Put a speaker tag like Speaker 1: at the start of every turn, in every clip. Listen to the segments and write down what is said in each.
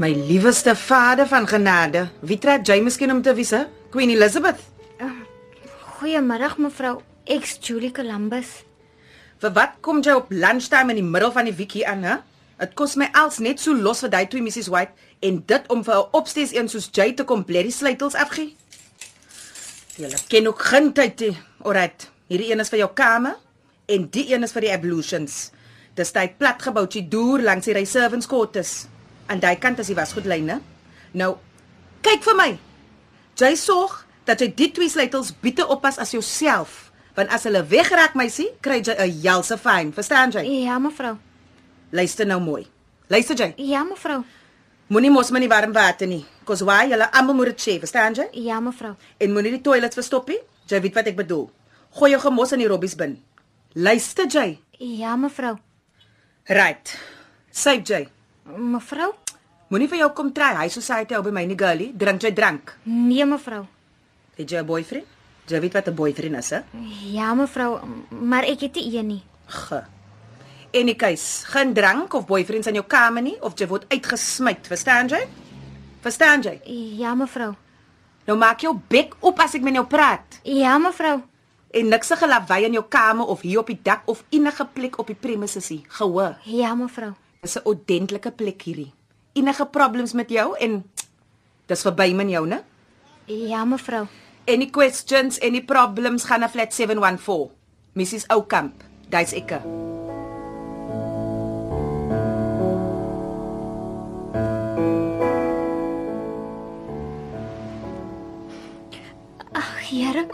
Speaker 1: My lieweste Vader van genade, wie trek jy miskien om te wisse? Queen Elizabeth.
Speaker 2: Goeiemiddag mevrou X Julie Columbus.
Speaker 1: Vir wat kom jy op lunchtime in die middel van die week hier aan, hè? Dit kos my als net so los vir daai twee missies White en dit om vir 'n opstees een soos jy te kom bly die sleutels afgee. Jy ken ook geen tyd nie. Alrite, hierdie een is vir jou kamer en die een is vir die ablutions. Dis daai platgebouetjie deur langs die reservants quarters. Aan daai kant is die wasgoedlyne. Nou, kyk vir my. Jy sorg dat jy die twee sleutels biete oppas as jouself, want as hulle wegraak, meisie, kry jy 'n helse fyn, verstaan jy?
Speaker 2: Ja mevrou.
Speaker 1: Luister nou mooi. Luister jy.
Speaker 2: Ja mevrou.
Speaker 1: Moenie mos my nie warm water nie. Kos waai julle almal moet dit sê, verstaan jy?
Speaker 2: Ja mevrou.
Speaker 1: En moenie die toilet verstop nie. Jy weet wat ek bedoel. Gooi jou gemos in die robbies bin. Luister jy.
Speaker 2: Ja mevrou.
Speaker 1: Right. Save jy.
Speaker 2: Mevrou?
Speaker 1: Moenie vir jou kom try. Hy sou sê hy hou by my nie girlie. Drink jy drank.
Speaker 2: Nee mevrou.
Speaker 1: Het jy 'n boyfriend? Jy weet wat 'n boyfriend is, hè?
Speaker 2: Ja mevrou, maar ek het nie een nie.
Speaker 1: G. En die keus, geen drank of boyfriends aan jou kamer nie of jy word uitgesmyt, verstaan jy? Verstaan jy?
Speaker 2: Ja mevrou.
Speaker 1: Nou maak jou bek op as ek met jou praat.
Speaker 2: Ja mevrou.
Speaker 1: En nikse gelawai in jou kamer of hier op die dak of enige plek op die premises nie. Gehoor.
Speaker 2: Ja mevrou.
Speaker 1: Dis 'n ordentlike plek hierdie. Enige problems met jou en dis verby min jou, né?
Speaker 2: Ja mevrou.
Speaker 1: Any questions, any problems gaan na flat 714. Mrs Oukamp, er. daai's ekke.
Speaker 2: Ag Here.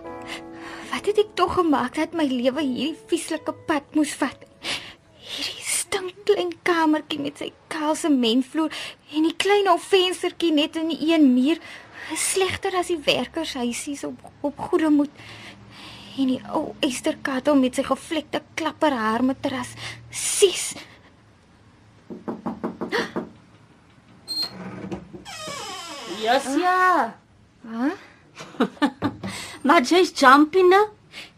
Speaker 2: Wat het ek tog gemaak dat my lewe hierdie vieslike pad moes vat? Hierdie stink klein kamertjie met sy kaal sementvloer en die klein ou venstertjie net in die een muur is slegter as die werkershuisies op op goeie moed. En die ou esterkattel met sy gevlekte klapperhaar matras. Sis.
Speaker 3: Yes, ja.
Speaker 2: Huh?
Speaker 3: Maar jy's jumping, né?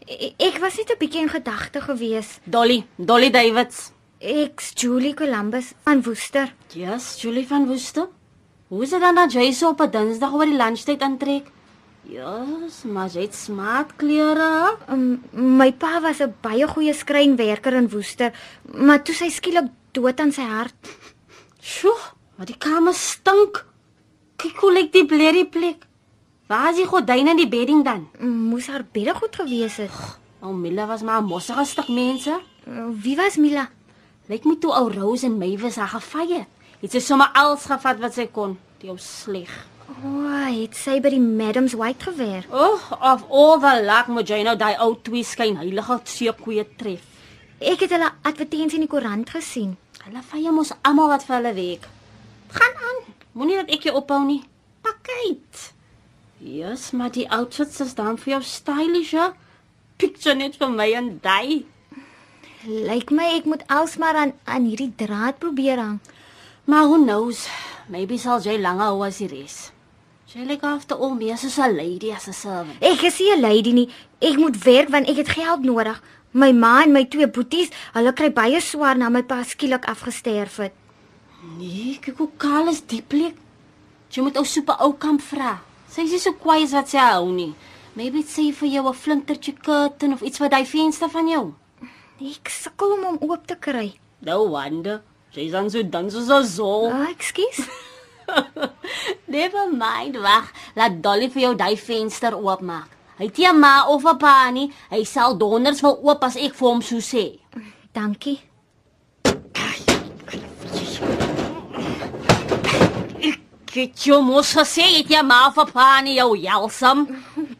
Speaker 2: E- Ek was net 'n bietjie in gedagte gewees.
Speaker 3: Dolly, Dolly Davids.
Speaker 2: Ek, Julie Columbus van Woester.
Speaker 3: Yes, Julie van Woester. Hoe is dit dan dat jy so op 'n Dinsdag oor die lunchtyd aantrek? Yes, maar jy het smart klere.
Speaker 2: Um, my pa was 'n baie goeie skrynwerker in Woester, maar toe sy skielik dood aan sy hart.
Speaker 3: Sjoe, maar die kamer stink. Kyk hoe lyk die blerie plek. Waar is die gordyne en die bedding dan?
Speaker 2: Moes haar bedde goed gewees het.
Speaker 3: Ou Mila was maar 'n mossige stuk mense.
Speaker 2: Uh, Wie was Mila?
Speaker 3: Lyk my toe ou Rose en Mavis haar gevaye. Het sy sommer alles gevat wat sy kon. Die ou sleg.
Speaker 2: O, oh, het sy by die Madams White gewerk?
Speaker 3: Oh, of all the luck moet jy nou daai ou twee skyn heilige seekoe tref.
Speaker 2: Ek het hulle advertensie in die koerant gesien.
Speaker 3: Hulle vye mos almal wat vir hulle werk. Gaan aan. Moenie dat ek jou ophou nie. Pak uit. Yes, maar die outfits is dan vir jou stylish. ja? Picture net vir my en daai.
Speaker 2: Lyk my ek moet alsmaar aan aan hierdie draad probeer hang.
Speaker 3: Maar who knows? Maybe sal jy langer hou as die res. Jy lyk after all meer soos 'n lady as 'n servant.
Speaker 2: Ek is nie 'n lady nie. Ek moet werk want ek het geld nodig. My ma en my twee boeties, hulle kry baie swaar na my pa skielik afgesterf het.
Speaker 3: Nee, kyk hoe kaal is die plek. Jy moet ou super ou kamp vra. Sy is nie so kwaai as wat sy hou nie. Maybe dit sê vir jou 'n flintertjie curtain of iets wat daai venster van jou.
Speaker 2: Ek sukkel om hom oop te kry.
Speaker 3: No wonder. Jy's dan so dan soos 'n zool.
Speaker 2: Ah, ekskuus.
Speaker 3: Ja. Never mind, wag. Laat Dolly vir jou daai venster oopmaak. Hy het nie 'n ma of 'n pa nie. Hy sal donders wil oop as ek vir hom so sê.
Speaker 2: Dankie.
Speaker 3: Kyk, jy mos gesê jy het nie 'n ma of 'n pa nie, jou jelsam.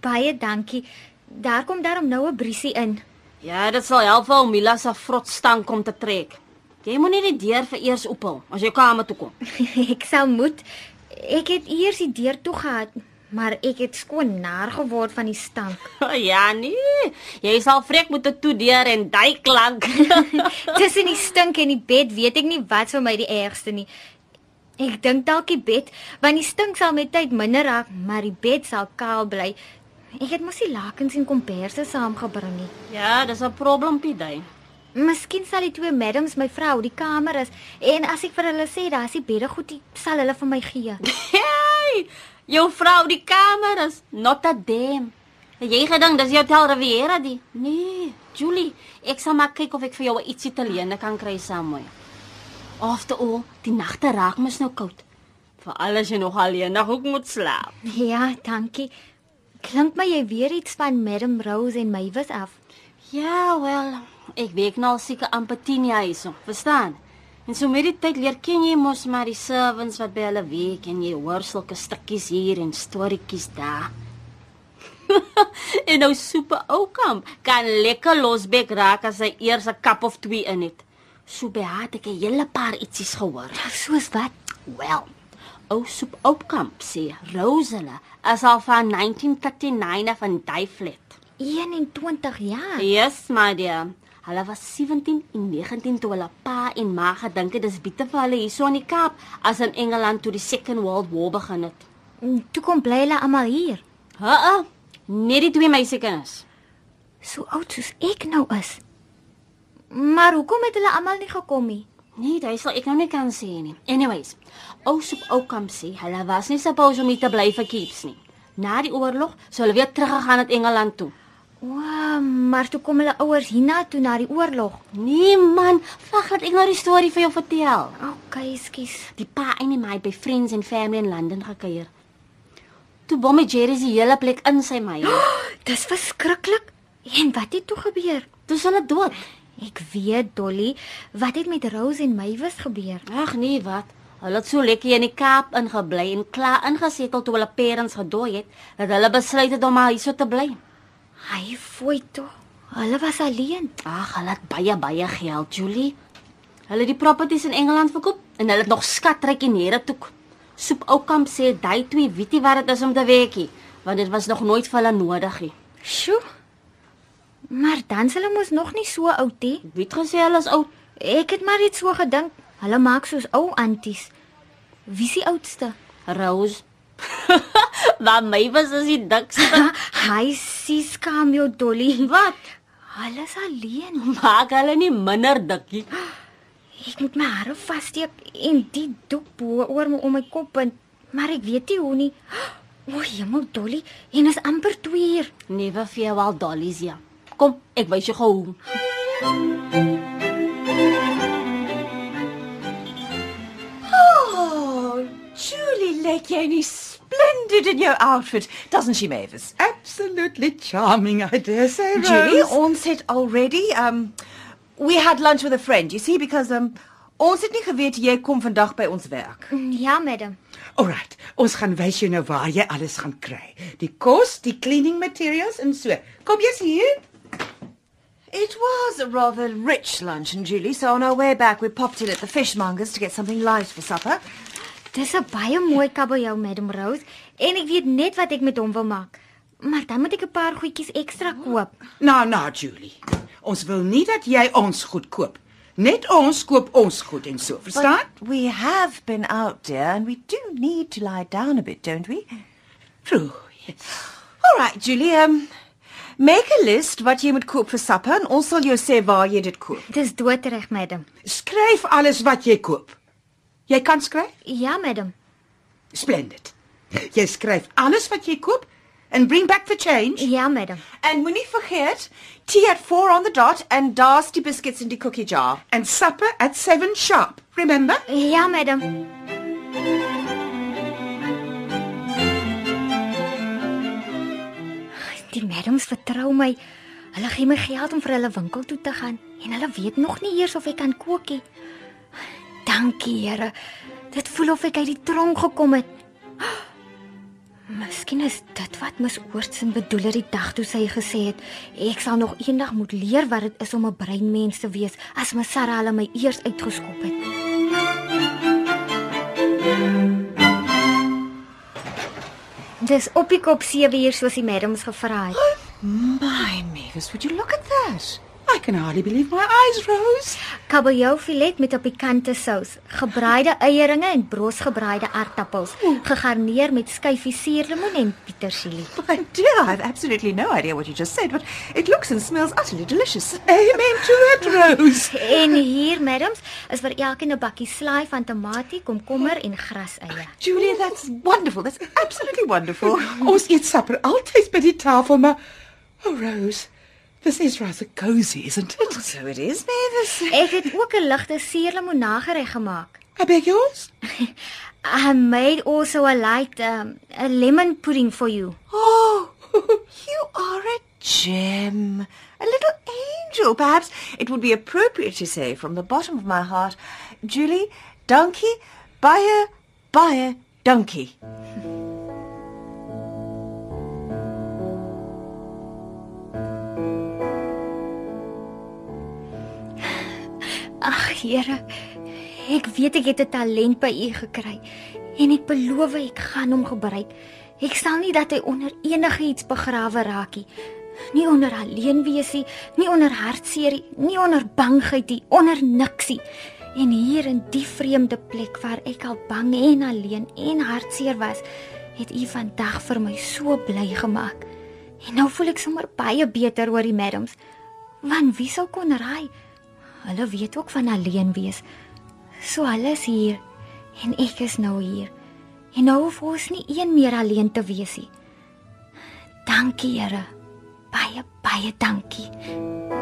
Speaker 2: Baie dankie. Daar kom daarom nou 'n briesie in.
Speaker 3: Ja, dit sal help vir ou Mila se vrot stank om te trek. Jy moenie die deur vereers ophou as jy kamer toe kom.
Speaker 2: ek sal moet. Ek het eers die deur toe gehad, maar ek het skoon naar geword van die stank.
Speaker 3: ja nee, jy sal vrek moet dit toe deur en daai klank.
Speaker 2: Tussen die stink en die bed weet ek nie wat vir my die ergste nie. Ek dink dalk die bed, want die stink sal met tyd minder raak, maar die bed sal kaal bly. Ek het mos die lakens en komberse saamgebring nie.
Speaker 3: ja, dis 'n probleempie daai.
Speaker 2: Miskien sal die twee madams my vra hoe die kamer is en as ek vir hulle sê daar's die bedde goed, die sal hulle vir my gee.
Speaker 3: Hey, jou vrou die kamer is not a damn. Het Jy gedink dis jou Hotel Riviera die? Nee, Julie, ek sal maar kyk of ek vir jou ietsie te leen kan kry saammooi. After all, die nagte raak mos nou koud. Veral as jy nog alleen nog ook moet slaap.
Speaker 2: Ja, dankie. Klink my jy weer iets van Madam Rose en my wys af.
Speaker 3: Ja, wel, ek werk nou al seker amper 10 jaar hierso, verstaan? En so met die tyd leer ken jy mos maar die servants wat by hulle werk en jy hoor sulke stukkies hier en storieetjies daar. en nou super oukamp kan lekker losbek raak as hy eers 'n kap of twee in het. So by haar het ek 'n hele paar ietsies gehoor.
Speaker 2: Nou, Soos wat?
Speaker 3: Wel, ou soep oukamp sê Rosela is al van 1939 van Duiflet.
Speaker 2: 21 jaar.
Speaker 3: Yes, my dear. Hulle was 17 en 19 toe hulle pa en ma gedink het dis beter vir hulle hierso in die Kaap as in Engeland toe die Second World War begin het.
Speaker 2: En toe kom bly hulle almal hier.
Speaker 3: Hæ? Net die twee meisiekinders.
Speaker 2: So oud soos ek nou is. Maar hoekom het hulle almal nie gekom nie?
Speaker 3: Nee, daai sal ek nou nie kan sê nie. Anyways, ou soep ou kamp sê hulle was nie supposed om hier te bly vir keeps nie. Na die oorlog sou hulle weer teruggegaan het Engeland toe.
Speaker 2: O, maar toe kom hulle ouers hiernatoe na die oorlog.
Speaker 3: Nee man, wag laat ek nou die storie vir jou vertel.
Speaker 2: OK, skus.
Speaker 3: Die pa en die my by friends and family in Londen gekuier. Toe bom het Jerry se hele plek in sy my.
Speaker 2: Dis verskriklik. En wat het toe gebeur?
Speaker 3: Dis hulle dood.
Speaker 2: Ek weet, Dolly, wat het met Rose en Maywis gebeur?
Speaker 3: Ag nee, wat? Hulle het so lekker in die Kaap ingebly en klaar ingesettel toe hulle parents gedooi het dat hulle besluit het om maar hierso te bly.
Speaker 2: Hy fooi toe. Hulle was alleen.
Speaker 3: Ag, hulle het baie baie geld, Julie. Hulle het die properties in Engeland verkoop en hulle het nog skatryk in Heretoek. Soep Oukamp sê daai twee weetie wat dit is om te werkie, want dit was nog nooit vir hulle nodig nie.
Speaker 2: Sjoe. Maar dan sal hulle mos nog nie so oud hê.
Speaker 3: Wie het gesê hulle is oud?
Speaker 2: Ek het maar net so gedink, hulle maak soos ou anties. Wie is die oudste?
Speaker 3: Rose. Waar my was as die dikste.
Speaker 2: Hy sies kam jou Dolly.
Speaker 3: Wat?
Speaker 2: Hulle is alleen.
Speaker 3: Maak hulle nie minder dikkie.
Speaker 2: Ek moet my hare vassteek en die doek bo oor my om my kop bind, maar ek weet nie hoe nie. O, hemel Dolly, en is amper 2 uur.
Speaker 3: Never fear while dollies ja. Kom, ek wys jou gou hoe.
Speaker 4: Oh, Julie, lyk jy nie splendid in jou outfit, doesn't she, Mavis?
Speaker 1: Absolutely charming, I dare say, Rose.
Speaker 4: Julie, ons het already um we had lunch with a friend, you see, because um ons het nie geweet jy kom vandag by ons werk.
Speaker 2: Ja, madam.
Speaker 1: Alright, ons gaan wys jou nou waar jy alles gaan kry. Die kos, die cleaning materials en so. Kom jy's hier.
Speaker 4: It was a rather rich luncheon, Julie, so on our way back we popped in at the fishmonger's to get something light for supper.
Speaker 2: Dis 'n baie mooi kabeljou, madam Rose, en ek weet net wat ek met hom wil maak. Maar dan moet ek 'n paar goedjies ekstra koop.
Speaker 1: Nou, nou, Julie. Ons wil nie dat jy ons goed koop. Net ons koop ons goed en so, verstaan?
Speaker 4: But we have been out, dear, and we do need to lie down a bit, don't we?
Speaker 1: True.
Speaker 4: All right, Julie, um make a list wat jy moet koop vir supper en ons sal jou sê waar jy dit koop.
Speaker 2: Dis doodreg, madam.
Speaker 1: Skryf alles wat jy koop. Jy kan skryf?
Speaker 2: Ja, madam.
Speaker 1: Splendid. Jy skryf alles wat jy koop and bring back the change.
Speaker 2: Ja, madam.
Speaker 4: En moenie vergeet, tea at 4 on the dot en daar's die biscuits in die cookie jar.
Speaker 1: and supper at seven sharp. Remember?
Speaker 2: Ja, madam. Die madams vertrou my. Hulle gee my geld om vir hulle winkel toe te gaan en hulle weet nog nie eers of ek kan kook nie. Dankie, Here. Dit voel of ek uit die tronk gekom het. Miskien is dit wat Miss Oortsen bedoel het die dag toe sy gesê het ek sal nog eendag moet leer wat dit is om 'n breinmens te wees as my Sarah hulle my eers uitgeskop het. Dis op die kop 7 uur soos die madams gevra het.
Speaker 4: My Mavis, would you look at that?
Speaker 1: I
Speaker 4: I can hardly believe my eyes, Rose.
Speaker 2: Kabeljaufilet met 'n pikante sous, gebraaide eieringe en brosgebraaide aartappels, gegarneer met skyfie suurlemoen en pietersielie.
Speaker 1: My dear, I've absolutely no idea what you just said, but it looks and smells utterly delicious.
Speaker 4: Amen to that, Rose.
Speaker 2: En hier, madams, is vir elkeen 'n bakkie slaai van tamatie, komkommer en graseie.
Speaker 1: Julia, that's wonderful. That's absolutely wonderful.
Speaker 4: Ons eet supper altyd by die tafel, maar Oh Rose, this is rather cozy, isn't it?
Speaker 1: Oh, So it is, Mavis.
Speaker 2: Ek het ook 'n ligte suurlemoenagerei gemaak.
Speaker 4: I beg yours.
Speaker 2: I made also a light um, a lemon pudding for you.
Speaker 1: Oh, you are a gem. A little angel, perhaps. It would be appropriate to say from the bottom of my heart, Julie, donkey, buyer, buyer, donkey.
Speaker 2: Ag, Here. Ek weet ek het 'n talent by U gekry en ek beloof ek gaan hom gebruik. Ek sal nie dat hy onder enigiets begrawe raak nie. Nie onder alleen wees nie, nie onder hartseer nie, nie onder bangheid nie, onder niks nie. En hier in die vreemde plek waar ek al bang en alleen en hartseer was, het U vandag vir my so bly gemaak. En nou voel ek sommer baie beter oor die madams. Want wie sou kon raai? Hulle weet ook van alleen wees. So hulle is hier en ek is nou hier. En nou hoef ons nie een meer alleen te wees nie. Dankie Here. Baie baie dankie.